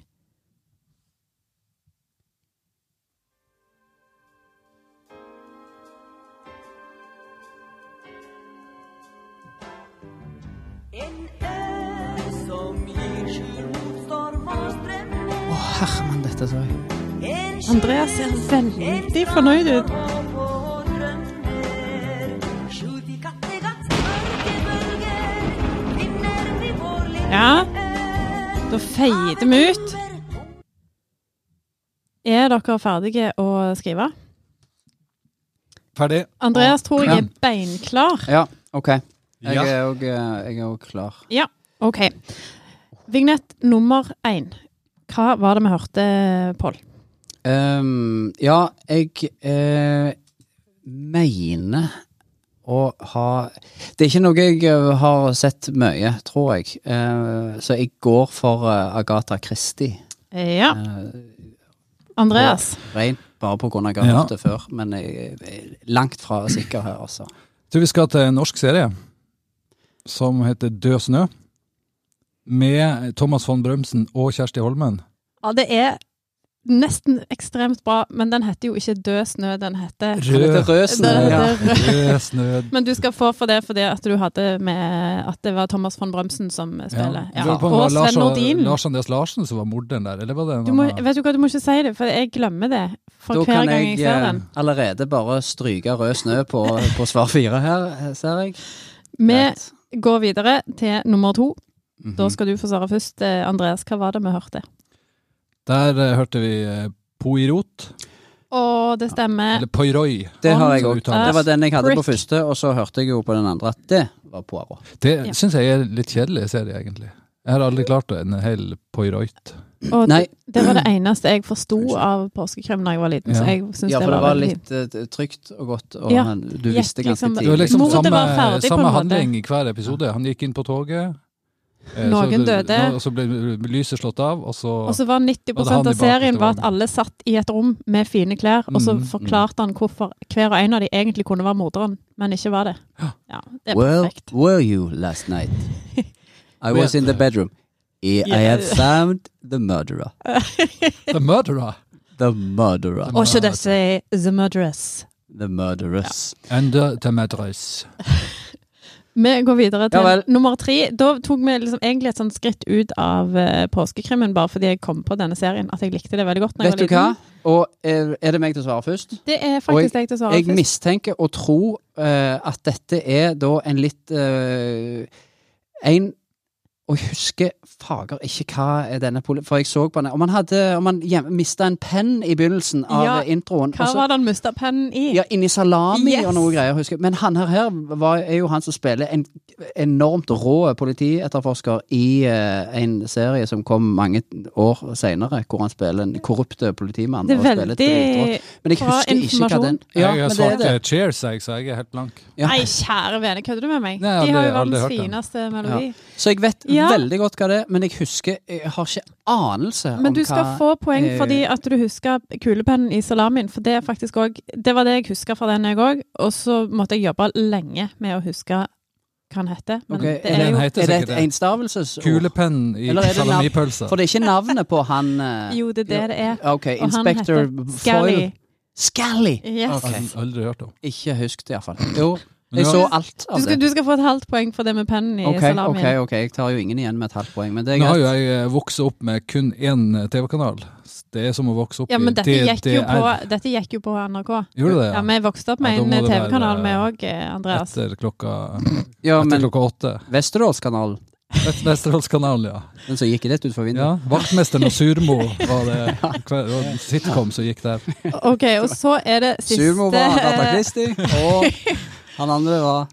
[SPEAKER 7] En ø som gir skjul mot storm og strømmer.
[SPEAKER 3] Å, herremann, dette så jeg.
[SPEAKER 7] En skjær
[SPEAKER 2] Andreas ser veldig fornøyd ut.
[SPEAKER 7] og drømmer. Skjult i Kattegat, mørke bølger. Finner vi vår lille
[SPEAKER 2] Ja,
[SPEAKER 7] ø.
[SPEAKER 2] da feider vi ut. Er dere ferdige å skrive?
[SPEAKER 4] Ferdig.
[SPEAKER 2] Andreas tror jeg
[SPEAKER 3] Ja.
[SPEAKER 2] er beinklar.
[SPEAKER 3] Ja, OK. Jeg
[SPEAKER 4] Ja.
[SPEAKER 3] er òg jeg er òg klar.
[SPEAKER 2] Ja, OK. Vignett nummer én. Hva var det vi hørte, Pål?
[SPEAKER 3] Ehm, ja, jeg eh, mener å ha Det er ikke noe jeg eh, har sett mye, tror jeg. Eh, så jeg går for eh, Agatha Christie.
[SPEAKER 2] Ja. Andreas.
[SPEAKER 3] Rent bare på grunn av jeg har
[SPEAKER 4] Ja.
[SPEAKER 3] hørt det før, men jeg er langt fra sikker her, altså.
[SPEAKER 4] Jeg tror vi skal til en norsk serie som heter Død snø. Med Thomas von Brømsen og Kjersti Holmen.
[SPEAKER 2] Ja, det er nesten ekstremt bra, men den heter jo ikke Død snø, den heter
[SPEAKER 3] Den
[SPEAKER 4] Rød.
[SPEAKER 3] heter Rød snø,
[SPEAKER 2] Den
[SPEAKER 3] ja.
[SPEAKER 2] heter Rød.
[SPEAKER 4] Død snø.
[SPEAKER 2] Men du skal få for det fordi at du hadde med at det var Thomas von Brømsen som spiller.
[SPEAKER 4] Jeg
[SPEAKER 2] Ja.
[SPEAKER 4] lurer på om det var
[SPEAKER 2] Og Sven
[SPEAKER 4] Lars-
[SPEAKER 2] Nordin.
[SPEAKER 4] Lars Andreas Larsen som var morderen der, eller var det en
[SPEAKER 2] Du må,
[SPEAKER 4] annen?
[SPEAKER 2] vet du hva, du må ikke si det, for jeg glemmer det for
[SPEAKER 3] Da
[SPEAKER 2] hver
[SPEAKER 3] kan
[SPEAKER 2] gang jeg,
[SPEAKER 3] jeg
[SPEAKER 2] ser
[SPEAKER 3] eh,
[SPEAKER 2] den.
[SPEAKER 3] allerede bare stryke rød snø på, på svar fire her, ser jeg.
[SPEAKER 2] Vi
[SPEAKER 3] Greit.
[SPEAKER 2] går videre til nummer to.
[SPEAKER 3] Mhm.
[SPEAKER 2] Da skal du få svare først. eh, Andreas, hva var det vi hørte?
[SPEAKER 4] Der eh, hørte vi eh, Poirot,
[SPEAKER 2] Å, det stemmer.
[SPEAKER 4] eller Poiroi.
[SPEAKER 3] Det har
[SPEAKER 4] som
[SPEAKER 3] jeg òg.
[SPEAKER 4] uttales.
[SPEAKER 3] Det var den jeg hadde på
[SPEAKER 2] Prick.
[SPEAKER 3] første, og så hørte jeg jo på den andre at det var Poirot.
[SPEAKER 4] Det
[SPEAKER 2] Ja.
[SPEAKER 4] syns jeg er litt kjedelig serie, egentlig. Jeg har aldri klart en hel Poirot.
[SPEAKER 2] Og
[SPEAKER 3] Nei.
[SPEAKER 2] det, det var det eneste jeg forsto av påskekrim da jeg var liten. Så
[SPEAKER 4] Ja.
[SPEAKER 2] jeg synes
[SPEAKER 3] Ja,
[SPEAKER 2] det
[SPEAKER 3] for det
[SPEAKER 2] var,
[SPEAKER 3] var
[SPEAKER 2] veldig
[SPEAKER 3] litt eh, trygt og godt, og
[SPEAKER 2] Ja.
[SPEAKER 3] han- du
[SPEAKER 2] Gjett
[SPEAKER 3] visste ganske
[SPEAKER 2] liksom-
[SPEAKER 4] Det var
[SPEAKER 3] tidlig.
[SPEAKER 4] liksom
[SPEAKER 2] Motet
[SPEAKER 4] samme,
[SPEAKER 2] var ferdig på en
[SPEAKER 4] samme
[SPEAKER 2] måte.
[SPEAKER 4] handling i hver episode. Han gikk inn på toget. eh,
[SPEAKER 2] Noen
[SPEAKER 4] så-
[SPEAKER 2] døde.
[SPEAKER 4] Og så ble lyset slått av, og så
[SPEAKER 2] Og så var 90
[SPEAKER 4] Og det handler
[SPEAKER 2] av
[SPEAKER 4] bare om
[SPEAKER 2] serien var at
[SPEAKER 4] festivalen.
[SPEAKER 2] alle satt i et rom med fine klær, og så
[SPEAKER 4] Mm,
[SPEAKER 2] forklarte han hvorfor hver og en av de egentlig kunne være morderen, men ikke var det. Ja, det er
[SPEAKER 3] Well,
[SPEAKER 2] perfekt.
[SPEAKER 3] were you last night? I was in the bedroom. I, I
[SPEAKER 2] Yeah.
[SPEAKER 3] have found the murderer.
[SPEAKER 4] The Murderer!
[SPEAKER 3] The murderer.
[SPEAKER 2] Og ikke disse The Murderess.
[SPEAKER 3] The murderess.
[SPEAKER 4] Enda til Madras.
[SPEAKER 2] Vi går videre til
[SPEAKER 3] Ja vel.
[SPEAKER 2] nummer tre. Da tok vi liksom egentlig et sånt skritt ut av eh, påskekrimmen, bare fordi jeg kom på denne serien, at jeg likte det veldig godt. Når
[SPEAKER 3] Vet du
[SPEAKER 2] jeg var
[SPEAKER 3] hva?
[SPEAKER 2] liten.
[SPEAKER 3] Og eh, er, er det meg til å svare først?
[SPEAKER 2] Det er
[SPEAKER 3] Og jeg-
[SPEAKER 2] faktisk deg til å svare
[SPEAKER 3] Jeg
[SPEAKER 2] først.
[SPEAKER 3] mistenker og tror eh, at dette er da en litt eh, En Og jeg husker fager ikke hva er denne poli... For jeg så på den Om han hadde Om han hjem- mista en penn i begynnelsen av
[SPEAKER 2] Ja,
[SPEAKER 3] eh, introen
[SPEAKER 2] Hva
[SPEAKER 3] og så-
[SPEAKER 2] var det han mista pennen i?
[SPEAKER 3] Ja, inni salami
[SPEAKER 2] Yes.
[SPEAKER 3] og noe greier, husker jeg. Men han her, her var, er jo han som spiller en enormt rå politietterforsker i eh, en serie som kom mange år seinere, hvor han spiller en korrupt politimann.
[SPEAKER 2] det er
[SPEAKER 3] og spiller
[SPEAKER 2] veldig
[SPEAKER 3] dritrått. Men jeg
[SPEAKER 2] bra
[SPEAKER 3] husker ikke hva den
[SPEAKER 2] informasjon.
[SPEAKER 3] Ja,
[SPEAKER 4] jeg har
[SPEAKER 3] men det
[SPEAKER 4] svart
[SPEAKER 3] er det.
[SPEAKER 4] eh, Cheers, jeg, så jeg er helt blank.
[SPEAKER 3] Ja.
[SPEAKER 2] Nei, kjære vene, kødder du med meg?
[SPEAKER 4] Nei, jeg har
[SPEAKER 2] de har jo
[SPEAKER 4] aldri- aldri
[SPEAKER 2] verdens
[SPEAKER 4] hørt den.
[SPEAKER 2] fineste melodi.
[SPEAKER 3] Så jeg vet
[SPEAKER 2] Ja.
[SPEAKER 3] veldig godt hva det er, men jeg husker Jeg har ikke anelse om hva
[SPEAKER 2] Men du skal få poeng
[SPEAKER 3] eh,
[SPEAKER 2] fordi at du husker kulepennen i salamien, for det er faktisk òg Det var det jeg huska fra den, jeg òg, og så måtte jeg jobbe lenge med å huske hva den heter. Men
[SPEAKER 3] Ok,
[SPEAKER 2] det
[SPEAKER 3] er,
[SPEAKER 2] er
[SPEAKER 4] den
[SPEAKER 2] jo
[SPEAKER 4] heter
[SPEAKER 3] det, er det
[SPEAKER 4] sikkert
[SPEAKER 3] et
[SPEAKER 4] det.
[SPEAKER 3] enstavelsesord?
[SPEAKER 4] Kulepenn i
[SPEAKER 3] Oh. Eller er det nav-
[SPEAKER 4] salamipølse.
[SPEAKER 3] For det er ikke navnet på han eh,
[SPEAKER 2] Jo, det er det det er.
[SPEAKER 3] OK,
[SPEAKER 2] Og han
[SPEAKER 3] Inspector
[SPEAKER 2] heter Scally.
[SPEAKER 3] Foyle. Scally!
[SPEAKER 2] Yes.
[SPEAKER 4] Jeg har aldri hørt om.
[SPEAKER 3] Ikke husk det, iallfall. Jo,
[SPEAKER 4] Mm. Men
[SPEAKER 3] jeg
[SPEAKER 4] det
[SPEAKER 3] så
[SPEAKER 4] var-
[SPEAKER 3] alt
[SPEAKER 2] Du
[SPEAKER 3] av
[SPEAKER 2] skal,
[SPEAKER 3] det.
[SPEAKER 2] du skal få et halvt poeng for det med pennen i
[SPEAKER 3] Ok,
[SPEAKER 2] salamien.
[SPEAKER 3] ok, ok, jeg tar jo ingen igjen med et halvt poeng, men det er
[SPEAKER 4] Nå har jo
[SPEAKER 3] greit.
[SPEAKER 4] jeg eh, vokst opp med kun én eh, TV-kanal. Det er som å vokse opp
[SPEAKER 2] Ja, men dette
[SPEAKER 4] i
[SPEAKER 2] gikk, jo på,
[SPEAKER 4] DDR.
[SPEAKER 2] dette gikk jo på NRK.
[SPEAKER 4] Gjorde det,
[SPEAKER 2] Ja,
[SPEAKER 4] ja?
[SPEAKER 2] Vi vokste opp med
[SPEAKER 4] Ja, da må
[SPEAKER 2] en
[SPEAKER 4] det være-
[SPEAKER 2] TV-kanal, vi òg, Andreas.
[SPEAKER 4] Etter klokka,
[SPEAKER 3] Ja,
[SPEAKER 4] etter
[SPEAKER 3] men
[SPEAKER 4] klokka åtte.
[SPEAKER 3] Westerdalskanalen,
[SPEAKER 4] Vest- Vesterålskanalen, ja.
[SPEAKER 3] Den som gikk rett ut for vinduet.
[SPEAKER 4] ja. Vaktmesteren og Surmo var det hver- det var en sitcom som gikk der.
[SPEAKER 2] OK, og så er det siste
[SPEAKER 3] Sumo var Agatha Christie, og han andre var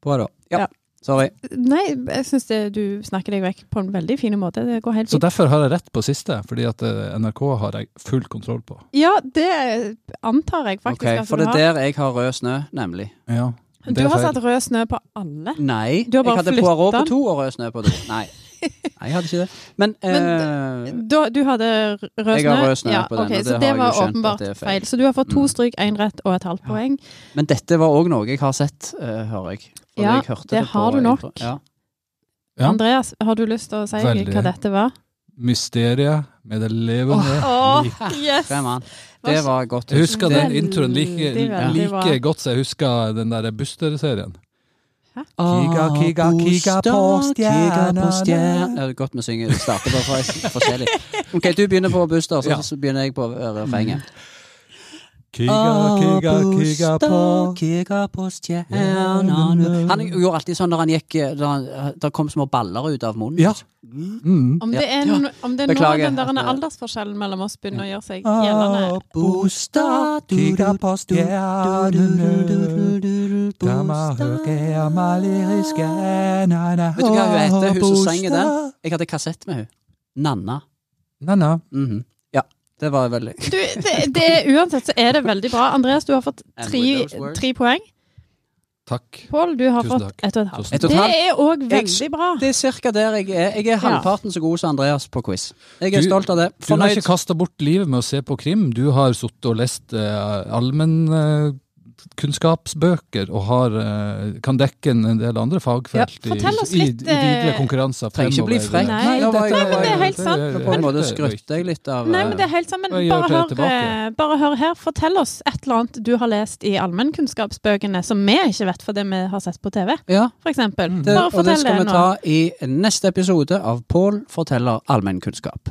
[SPEAKER 3] Poirot. Ja.
[SPEAKER 2] Ja.
[SPEAKER 3] Sorry.
[SPEAKER 2] Nei, jeg syns du snakker deg vekk på en veldig fin måte. Det går helt
[SPEAKER 4] Så
[SPEAKER 2] fint.
[SPEAKER 4] derfor har jeg rett på siste, fordi at eh, NRK har jeg full kontroll på.
[SPEAKER 2] Ja, det antar jeg faktisk
[SPEAKER 3] Ok,
[SPEAKER 2] at
[SPEAKER 3] for
[SPEAKER 2] du
[SPEAKER 3] det er
[SPEAKER 2] har.
[SPEAKER 3] der jeg altså, har rød snø, nemlig.
[SPEAKER 4] Ja, det
[SPEAKER 2] Du
[SPEAKER 4] er
[SPEAKER 2] har
[SPEAKER 4] feil.
[SPEAKER 2] satt rød snø på alle. Du
[SPEAKER 3] Nei,
[SPEAKER 2] har
[SPEAKER 3] jeg
[SPEAKER 2] bare
[SPEAKER 3] hadde
[SPEAKER 2] flyttet
[SPEAKER 3] Poirot på
[SPEAKER 2] den.
[SPEAKER 3] to og rød snø på to. Nei, Nei jeg hadde ikke det. Men, eh,
[SPEAKER 2] Da, du hadde r- rød snø?
[SPEAKER 3] Jeg har rød snø på den,
[SPEAKER 2] ok,
[SPEAKER 3] og det
[SPEAKER 2] så
[SPEAKER 3] har
[SPEAKER 2] det
[SPEAKER 3] jeg jo
[SPEAKER 2] var
[SPEAKER 3] skjønt at
[SPEAKER 2] åpenbart
[SPEAKER 3] det er feil. Mm.
[SPEAKER 2] feil. Så du har fått to stryk, én rett og et halvt poeng.
[SPEAKER 3] men dette var òg noe jeg har sett, eh, hører jeg. For
[SPEAKER 2] Ja,
[SPEAKER 3] jeg hørte
[SPEAKER 2] det
[SPEAKER 3] på
[SPEAKER 2] har du
[SPEAKER 3] en
[SPEAKER 2] nok.
[SPEAKER 3] tro- Ja.
[SPEAKER 4] Ja.
[SPEAKER 2] Andreas, har du lyst til å si
[SPEAKER 4] Veldig.
[SPEAKER 2] hva dette var?
[SPEAKER 4] Mysteriet med det levende.
[SPEAKER 2] Åh, yes!
[SPEAKER 3] Hvem er han? Det var godt.
[SPEAKER 4] Jeg husker den
[SPEAKER 2] Veldig,
[SPEAKER 4] introen like,
[SPEAKER 2] veldig bra.
[SPEAKER 4] like godt som jeg husker den der Buster-serien.
[SPEAKER 3] Kiga,
[SPEAKER 4] kiga, kiga på stjernene.
[SPEAKER 3] Ja, det er godt vi synger. Vi starter bare for, forskjellig. Ok, du begynner på Buster, så,
[SPEAKER 4] Ja.
[SPEAKER 3] så begynner jeg på eh, refrenget.
[SPEAKER 4] Kiga, kiga, kiga på
[SPEAKER 3] Kiga på stjernene Han gjorde alltid sånn når han gikk eh, da, han- da kom små baller ut av munnen.
[SPEAKER 4] Ja. Mm.
[SPEAKER 2] Om det er, no- om det er noe av
[SPEAKER 3] Beklager
[SPEAKER 2] den der
[SPEAKER 3] at det-
[SPEAKER 2] aldersforskjellen mellom oss begynner å gjøre seg gjeldende
[SPEAKER 3] Buster,
[SPEAKER 4] Kiga på stjernene
[SPEAKER 3] Vet du hva hun heter, hun som sanger den? Jeg hadde kassett med hun. Nanna.
[SPEAKER 4] Nanna.
[SPEAKER 3] Mhm. Ja, det var veldig
[SPEAKER 2] Du, det, det er, uansett så er det veldig bra. Andreas, du har fått
[SPEAKER 3] And
[SPEAKER 2] tre,
[SPEAKER 3] with those words.
[SPEAKER 2] tre poeng.
[SPEAKER 4] Takk.
[SPEAKER 2] Pål, du har
[SPEAKER 4] Tusen
[SPEAKER 2] fått
[SPEAKER 4] takk.
[SPEAKER 2] ett og et halvt.
[SPEAKER 4] Tusen
[SPEAKER 3] Et og et
[SPEAKER 2] Det
[SPEAKER 3] halvt.
[SPEAKER 2] er òg
[SPEAKER 3] Jeg-
[SPEAKER 2] veldig bra.
[SPEAKER 3] Det er cirka der jeg er. Jeg er halvparten så god som Andreas på quiz. Jeg er
[SPEAKER 4] Du-
[SPEAKER 3] stolt av det.
[SPEAKER 4] Du har
[SPEAKER 3] Fornøyd.
[SPEAKER 4] ikke kasta bort livet med å se på krim. Du har sittet og lest uh, allmennkunnskapsbøker og har, eh, kan dekke en en del andre
[SPEAKER 2] Ja,
[SPEAKER 4] fagfelt i,
[SPEAKER 2] fortell oss
[SPEAKER 4] i, i
[SPEAKER 2] litt, eh,
[SPEAKER 4] videre konkurranser.
[SPEAKER 3] Trenger ikke bli
[SPEAKER 4] fremover.
[SPEAKER 3] frekk.
[SPEAKER 2] Nei,
[SPEAKER 3] nå var
[SPEAKER 4] dette
[SPEAKER 3] jeg-
[SPEAKER 2] Nei, men det er helt sant.
[SPEAKER 3] På en måte
[SPEAKER 4] helt, eh,
[SPEAKER 3] skrøtte jeg litt av
[SPEAKER 2] Nei, men det
[SPEAKER 3] eh,
[SPEAKER 2] er helt sammen.
[SPEAKER 4] Jeg gjør
[SPEAKER 2] Bare
[SPEAKER 4] det
[SPEAKER 2] hør,
[SPEAKER 4] tilbake.
[SPEAKER 2] eh, bare hør her. Fortell oss et eller annet du har lest i allmennkunnskapsbøkene som vi ikke vet fordi vi har sett på TV,
[SPEAKER 3] Ja,
[SPEAKER 2] for eksempel.
[SPEAKER 3] Mm. det,
[SPEAKER 2] Bare
[SPEAKER 3] og det
[SPEAKER 2] fortell
[SPEAKER 3] skal vi
[SPEAKER 2] nå.
[SPEAKER 3] ta i neste episode av Pål forteller allmennkunnskap.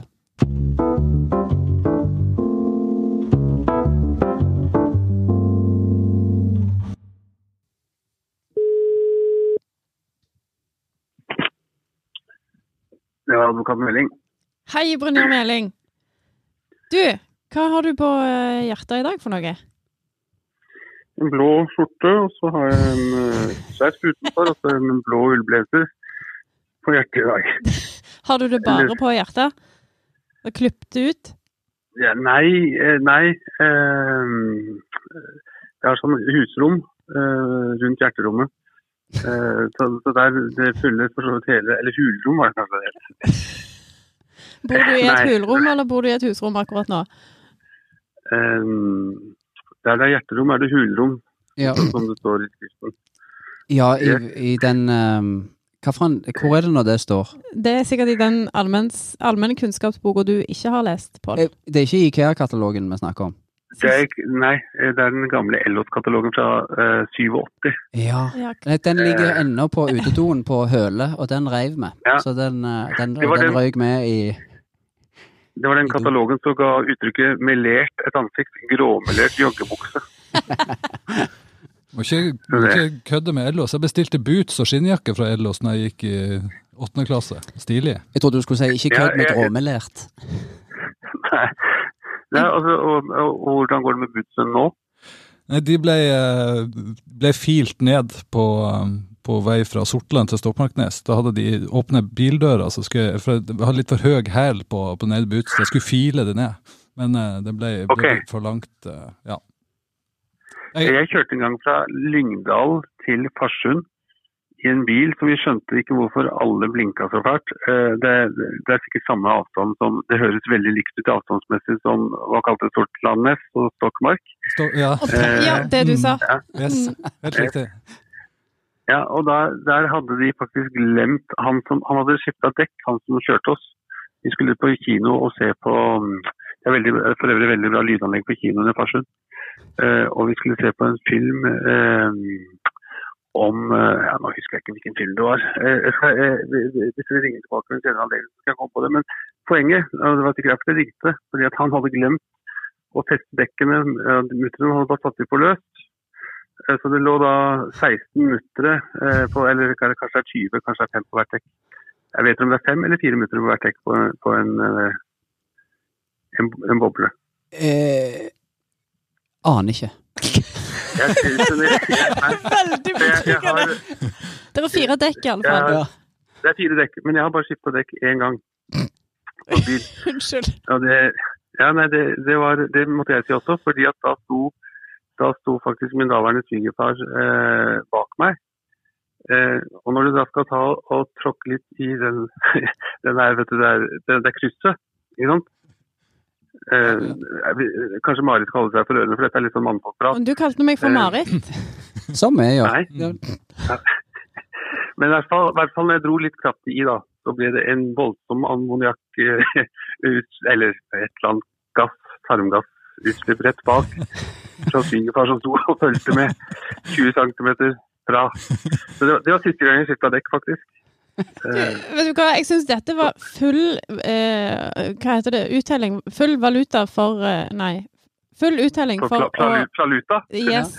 [SPEAKER 8] Det var advokat Meling.
[SPEAKER 2] Hei, Brynjar Meling. Du, hva har du på eh, hjertet i dag for noe?
[SPEAKER 8] En blå skjorte, og så har jeg en eh, skjerf utenfor, og så en blå ullblazer på hjertet i dag.
[SPEAKER 2] Har du det bare på hjertet? Og klippet ut?
[SPEAKER 8] Ja, nei, eh, nei. eh, jeg har sånn husrom eh, rundt hjerterommet. Eh, så, så der det fyller for så vidt hele Eller hulrom, var det kanskje det. het.
[SPEAKER 2] Bor du i et
[SPEAKER 8] Nei.
[SPEAKER 2] hulrom, eller bor du i et husrom akkurat nå?
[SPEAKER 8] Eh, der det er hjerterom, er det hulrom,
[SPEAKER 3] Ja,
[SPEAKER 8] som det står i skriften.
[SPEAKER 3] ja i, i den eh, hva faen, Hvor er det når det står?
[SPEAKER 2] Det er sikkert i den allmenns- allmennkunnskapsboka du ikke har lest, Pål.
[SPEAKER 3] Eh, Det er ikke IKEA-katalogen vi snakker om.
[SPEAKER 8] Det er, ikke- nei, eh, det er den gamle Ellos-katalogen fra eh, 87.
[SPEAKER 3] Ja.
[SPEAKER 2] Ja,
[SPEAKER 3] Nei, Den
[SPEAKER 8] Eh.
[SPEAKER 3] ligger ennå på utedoen på Høle, og den reiv vi.
[SPEAKER 8] Ja.
[SPEAKER 3] Så den, eh, den,
[SPEAKER 8] Det var
[SPEAKER 3] den
[SPEAKER 8] den-
[SPEAKER 3] røyk med i
[SPEAKER 8] Det var den katalogen som ga uttrykket 'melert et ansikt', gråmelert joggebukse.
[SPEAKER 4] Må ikke, må ikke kødde med Ellos. Jeg bestilte boots og skinnjakke fra Ellos når jeg gikk i åttende klasse. Stilig.
[SPEAKER 3] Jeg trodde du skulle si 'ikke kødd med
[SPEAKER 8] Ja, jeg-
[SPEAKER 3] gråmelert'.
[SPEAKER 8] Nei. Nei, altså, og, og, og hvordan går det med bootsen nå?
[SPEAKER 4] Nei, de ble, eh, ble filt ned på, eh, på vei fra Sortland til Stokmarknes. Da hadde de åpne bildører, så skulle jeg, for jeg hadde litt for høy hæl på, på den ene bootsen. Jeg skulle file det ned, men eh, det ble, ble
[SPEAKER 8] Ok.
[SPEAKER 4] litt for langt. eh, Ja.
[SPEAKER 8] Jeg kjørte en gang fra Lyngdal til Farsund i en bil som vi skjønte ikke hvorfor alle blinka så fælt. Eh, Det, det er sikkert samme avstand som Det høres veldig likt ut avstandsmessig som hva kalte Sortlandnes og Stokmark.
[SPEAKER 4] Stå, ja,
[SPEAKER 2] Og- ja det du sa.
[SPEAKER 4] yes, helt riktig.
[SPEAKER 8] Ja, og der, der hadde de faktisk glemt han som Han hadde skifta dekk, han som kjørte oss. Vi skulle på kino og se på mm, Det er veldig, for øvrig veldig bra lydanlegg på kinoen i Farsund. Eh, og vi skulle se på en film eh, om eh, ja, Nå husker jeg ikke hvilken film det var. Eh, jeg skal, eh, vi- vi- hvis vi ringer tilbake ved en senere anledning, så skal jeg komme på det. Men poenget og det var sikkert derfor jeg ringte, fordi at han hadde glemt å teste dekkene. eh, Mutteren hadde bare satt dem på løs. Eh, Så det lå da 16 muttere, eh, på, eller k- kanskje det er 20, kanskje det er 5 på hvert dekk, Jeg vet om det er fem eller fire minutter på hvert dekk på, på en, eh, en, en boble.
[SPEAKER 3] Eh, aner ikke.
[SPEAKER 8] Jeg synes det, jeg,
[SPEAKER 2] Veldig
[SPEAKER 8] jeg, Eh, jeg har,
[SPEAKER 2] betryggende. Det var fire dekk, i alle
[SPEAKER 8] jeg
[SPEAKER 2] fall.
[SPEAKER 8] har,
[SPEAKER 3] Ja.
[SPEAKER 8] det er fire dekk, men jeg har bare skifta dekk én gang. På bil.
[SPEAKER 2] Unnskyld.
[SPEAKER 8] Ja, det, ja nei, det, det, var, det måtte jeg si også, fordi at da sto, da sto faktisk min daværende svigerfar eh, bak meg. Eh, og når du da skal ta og tråkke litt i den, den her, vet du, det, er, det, det er krysset, ikke sant? Eh, jeg vil- kanskje Marit kaller seg for ørene, for dette er litt sånn mannfolkprat.
[SPEAKER 2] Men du kalte meg for
[SPEAKER 8] Eh,
[SPEAKER 2] Marit.
[SPEAKER 3] Som vi gjør.
[SPEAKER 8] Nei.
[SPEAKER 3] Ja.
[SPEAKER 8] Men i hvert fall, i hvert fall når jeg dro litt kraftig i, da, så ble det en voldsom ammoniakk eh, ut, eller et eller annet gass, tarmgassutslipp rett bak. Fra svigerfar som sto og fulgte med 20 cm fra. Så det, var- det var siste gang jeg skifta dekk, faktisk. Eh,
[SPEAKER 2] Vet du hva, jeg syns dette var full eh, Hva heter det? Uttelling? Full valuta for eh, Nei. Full uttelling
[SPEAKER 8] fra,
[SPEAKER 2] for
[SPEAKER 8] fra, fra,
[SPEAKER 2] å
[SPEAKER 8] fra luta.
[SPEAKER 2] Yes.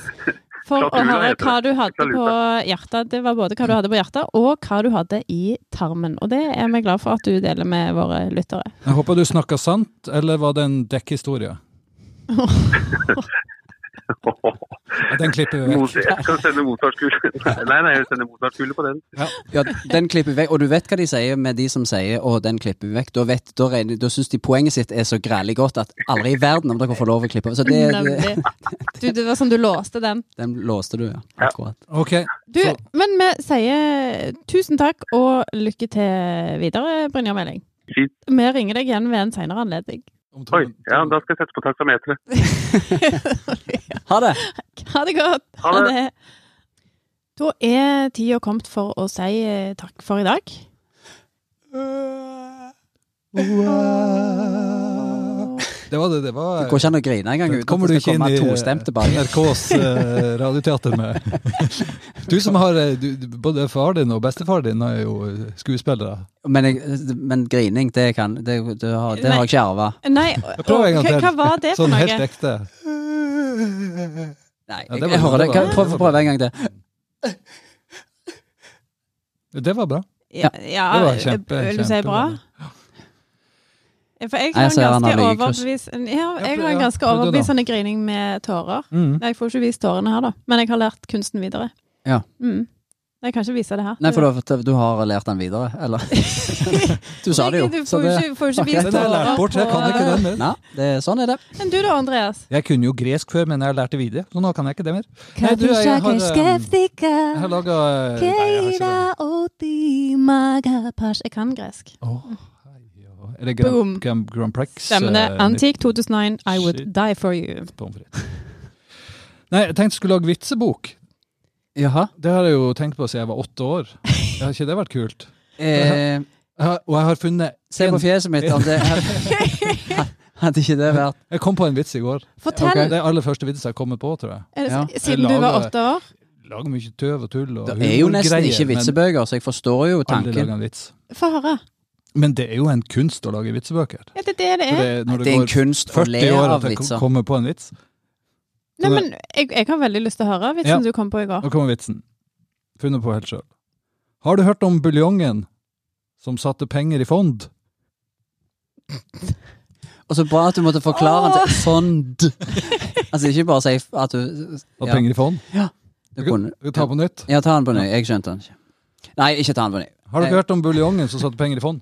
[SPEAKER 2] For å
[SPEAKER 8] Klatrula
[SPEAKER 2] høre
[SPEAKER 8] heter det.
[SPEAKER 2] hva du hadde på
[SPEAKER 8] Klatrula.
[SPEAKER 2] hjertet. Det var både hva du hadde på hjertet, og hva du hadde i tarmen. Og det er vi glad for at du deler med våre lyttere.
[SPEAKER 4] Jeg håper du snakka sant, eller var det en dekkhistorie? Ja, Den klipper vi vekk.
[SPEAKER 8] Mot, jeg skal sende Mozart-kule Nei, nei, jeg sender Mozart-kule på den.
[SPEAKER 3] Ja, den klipper vi vekk. Og du vet hva de sier med de som sier 'å, den klipper vi vekk'. Da, vet, da, regner- da syns de poenget sitt er så grælig godt at aldri i verden om dere får lov å klippe. Så det, det,
[SPEAKER 2] Nemlig. Du, det var som du låste den.
[SPEAKER 3] den låste du, ja. Akkurat.
[SPEAKER 4] Ok,
[SPEAKER 2] Du, men vi sier tusen takk og lykke til videre, Brynjar Meling.
[SPEAKER 8] Fint.
[SPEAKER 2] Vi ringer deg igjen ved en senere anledning.
[SPEAKER 4] om to-
[SPEAKER 8] Oi, ja, da skal jeg sette på taksameteret.
[SPEAKER 3] Ha det!
[SPEAKER 2] Ha det godt!
[SPEAKER 8] Ha det.
[SPEAKER 2] Da er tida kommet for å si eh, takk for i dag.
[SPEAKER 4] det var det. Det
[SPEAKER 3] Det
[SPEAKER 4] var
[SPEAKER 3] går ikke an å grine engang
[SPEAKER 4] Den
[SPEAKER 3] uten at det skal komme tostemt tilbake.
[SPEAKER 4] NRKs eh, radioteater med Du som har eh, du, du- Både far din og bestefar din er jo eh, skuespillere.
[SPEAKER 3] Men, jeg, men grining, det, kan, det, det, har, det har jeg ikke arva.
[SPEAKER 2] Nei,
[SPEAKER 4] Jeg prøver en gang
[SPEAKER 2] og- hva,
[SPEAKER 4] til.
[SPEAKER 2] hva var det for
[SPEAKER 4] sånn
[SPEAKER 2] noe?
[SPEAKER 4] helt ekte.
[SPEAKER 3] Nei, jeg,
[SPEAKER 4] Ja, det var-
[SPEAKER 3] jeg hører det.
[SPEAKER 4] det var-
[SPEAKER 3] Kan- Prøv, prøv en gang til.
[SPEAKER 4] Det var bra.
[SPEAKER 2] Ja,
[SPEAKER 4] Det
[SPEAKER 2] ja eh,
[SPEAKER 4] var kjempe,
[SPEAKER 2] vil du si
[SPEAKER 4] kjempebra.
[SPEAKER 2] bra? For jeg
[SPEAKER 3] Jeg
[SPEAKER 2] har en
[SPEAKER 3] ser han har
[SPEAKER 2] ganske
[SPEAKER 3] ligget i kryss.
[SPEAKER 2] overbevist ja, Jeg har
[SPEAKER 4] prøv-
[SPEAKER 2] en
[SPEAKER 4] ja,
[SPEAKER 2] ganske
[SPEAKER 4] prøv du da.
[SPEAKER 2] overbevisende grining med tårer.
[SPEAKER 4] Mm.
[SPEAKER 2] Nei, Jeg får ikke vist tårene her, da. Men jeg har lært kunsten videre.
[SPEAKER 3] Ja.
[SPEAKER 2] Mm. Jeg kan ikke vise det her.
[SPEAKER 3] Nei, for du, du har lært den videre, eller? Du sa det jo.
[SPEAKER 2] Du
[SPEAKER 3] så
[SPEAKER 2] får
[SPEAKER 3] det-
[SPEAKER 2] jo ikke, får jo ikke
[SPEAKER 3] Ok.
[SPEAKER 4] Den
[SPEAKER 2] vist
[SPEAKER 4] har jeg lært bort, jeg kan ikke den mer.
[SPEAKER 3] Nei, det, sånn er det.
[SPEAKER 2] Men du da, Andreas?
[SPEAKER 4] Jeg kunne jo gresk før, men jeg har lært det videre, så nå kan jeg ikke det mer. Nei, du, jeg har, eh, jeg har eh, laga
[SPEAKER 2] Jeg kan gresk.
[SPEAKER 4] Er det
[SPEAKER 2] Boom.
[SPEAKER 4] Grand, Grand, Grand Prix?
[SPEAKER 2] Stemmene.
[SPEAKER 4] eh,
[SPEAKER 2] Antique 2009, I would
[SPEAKER 4] Shit.
[SPEAKER 2] die for you.
[SPEAKER 4] pommes frites? Nei, jeg tenkte jeg skulle lage vitsebok.
[SPEAKER 3] Jaha.
[SPEAKER 4] Det har jeg jo tenkt på siden jeg var åtte år. Har ikke det vært kult?
[SPEAKER 3] Eh,
[SPEAKER 4] Jeg har, og jeg har funnet
[SPEAKER 3] se på
[SPEAKER 4] en,
[SPEAKER 3] fjeset mitt om det Hadde ikke det vært
[SPEAKER 4] Jeg kom på en vits i går.
[SPEAKER 2] Fortell,
[SPEAKER 4] Det er aller første vitsen jeg har kommet på, tror jeg.
[SPEAKER 2] er det
[SPEAKER 3] Ja.
[SPEAKER 2] s- siden du var
[SPEAKER 4] Lager-
[SPEAKER 2] åtte år
[SPEAKER 4] Lager mye tøv og tull og
[SPEAKER 3] Det er jo nesten
[SPEAKER 4] humorgreier,
[SPEAKER 3] ikke
[SPEAKER 4] men
[SPEAKER 3] vitsebøker, så jeg forstår jo
[SPEAKER 4] alle lager
[SPEAKER 3] tanken.
[SPEAKER 4] en vits.
[SPEAKER 2] Få høre.
[SPEAKER 4] Men det er jo en kunst å lage vitsebøker.
[SPEAKER 2] Ja, det er det det
[SPEAKER 4] For
[SPEAKER 2] er.
[SPEAKER 4] det, når
[SPEAKER 3] Eh? Det er en
[SPEAKER 4] går
[SPEAKER 3] kunst å
[SPEAKER 4] 40
[SPEAKER 3] le
[SPEAKER 4] år
[SPEAKER 3] av
[SPEAKER 4] at jeg
[SPEAKER 3] vitser.
[SPEAKER 4] kommer på en vits.
[SPEAKER 2] Nei, men jeg, jeg har veldig lyst til å høre vitsen
[SPEAKER 4] Ja.
[SPEAKER 2] du kom på i går.
[SPEAKER 4] Nå kommer vitsen. Funnet på helt sjøl. Har du hørt om buljongen som satte penger i fond?
[SPEAKER 3] Og så bra at du måtte forklare den til fond. Altså ikke bare si at du
[SPEAKER 4] At
[SPEAKER 3] ja,
[SPEAKER 4] penger i fond?
[SPEAKER 3] du kunne
[SPEAKER 4] Vi tar på nytt.
[SPEAKER 3] Ja, ta den på ny. Jeg skjønte den ikke. Nei, ikke ta den på ny.
[SPEAKER 4] Har du
[SPEAKER 3] Jeg-
[SPEAKER 4] ikke hørt om buljongen som satte penger i fond?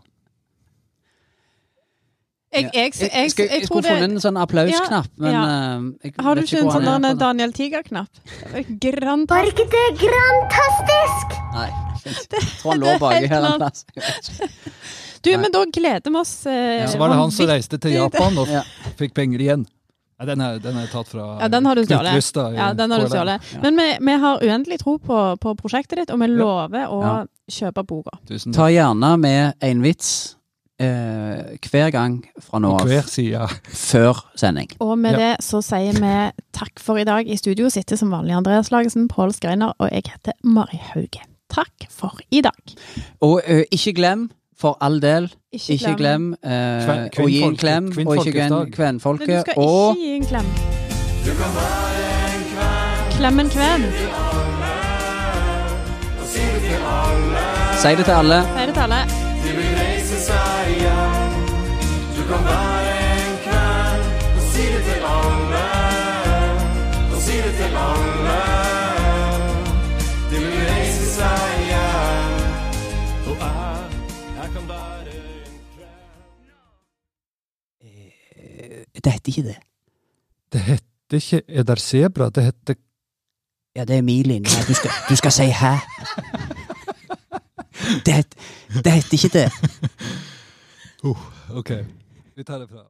[SPEAKER 2] Jeg, jeg, jeg, jeg,
[SPEAKER 3] skulle-
[SPEAKER 2] jeg tror
[SPEAKER 3] skulle
[SPEAKER 2] det
[SPEAKER 3] funnet en sånn applausknapp,
[SPEAKER 2] Ja,
[SPEAKER 3] men
[SPEAKER 2] ja.
[SPEAKER 3] eh, jeg
[SPEAKER 2] Har du
[SPEAKER 3] vet
[SPEAKER 2] ikke en
[SPEAKER 3] hvor han
[SPEAKER 2] sånn
[SPEAKER 3] er
[SPEAKER 2] der
[SPEAKER 3] på den.
[SPEAKER 2] Daniel Tiger-knapp? Grand
[SPEAKER 9] ikke det grantastisk?
[SPEAKER 3] Nei. Jeg tror han lå
[SPEAKER 2] det er
[SPEAKER 3] baki
[SPEAKER 2] helt
[SPEAKER 3] her en
[SPEAKER 2] klart.
[SPEAKER 3] plass. Jeg vet ikke.
[SPEAKER 2] Du, men da gleder vi oss. Eh,
[SPEAKER 4] Så var det han som reiste til Japan og
[SPEAKER 3] Ja.
[SPEAKER 4] fikk penger igjen. Nei, den, er, den er tatt fra
[SPEAKER 2] Ja, den har du
[SPEAKER 4] Knut
[SPEAKER 2] stjålet.
[SPEAKER 4] Lystad i
[SPEAKER 2] Ja, den har du
[SPEAKER 4] KLM.
[SPEAKER 2] stjålet. Men vi, vi har uendelig tro på, på prosjektet ditt, og vi lover å
[SPEAKER 3] Ja.
[SPEAKER 2] kjøpe boka.
[SPEAKER 4] Tusen
[SPEAKER 3] Ta gjerne med en vits eh, hver gang fra nå
[SPEAKER 4] På hver
[SPEAKER 3] av
[SPEAKER 4] side.
[SPEAKER 3] før sending.
[SPEAKER 2] Og med
[SPEAKER 4] Ja.
[SPEAKER 2] det så sier vi takk for i dag. I studio sitter som vanlig Andreas Lagesen, Pål Skreiner og jeg heter Mari Hauge. Takk for i dag.
[SPEAKER 3] Og eh, ikke glem, for all del, ikke glem eh,
[SPEAKER 4] Kven-
[SPEAKER 3] å gi en
[SPEAKER 4] kvinnfolket-
[SPEAKER 3] klem, og ikke
[SPEAKER 4] kvinnfolkets
[SPEAKER 2] Men
[SPEAKER 3] glem
[SPEAKER 4] dag.
[SPEAKER 2] du
[SPEAKER 3] kvenfolket.
[SPEAKER 2] skal ikke
[SPEAKER 3] Og
[SPEAKER 2] gi en klem. Klem en kven.
[SPEAKER 3] si det til alle.
[SPEAKER 2] Si det til alle.
[SPEAKER 5] kan være en kvern. Og si det til alle. Og si det til alle. De vil reise seg igjen. Og jeg, jeg kan være en kvern.
[SPEAKER 3] Det heter ikke det.
[SPEAKER 4] Det heter ikke Er der sebra? Det heter
[SPEAKER 3] Ja, det er min linje. Du skal, du skal si hæ. Det, het- det heter ikke det.
[SPEAKER 4] OK. Vi tar det fra.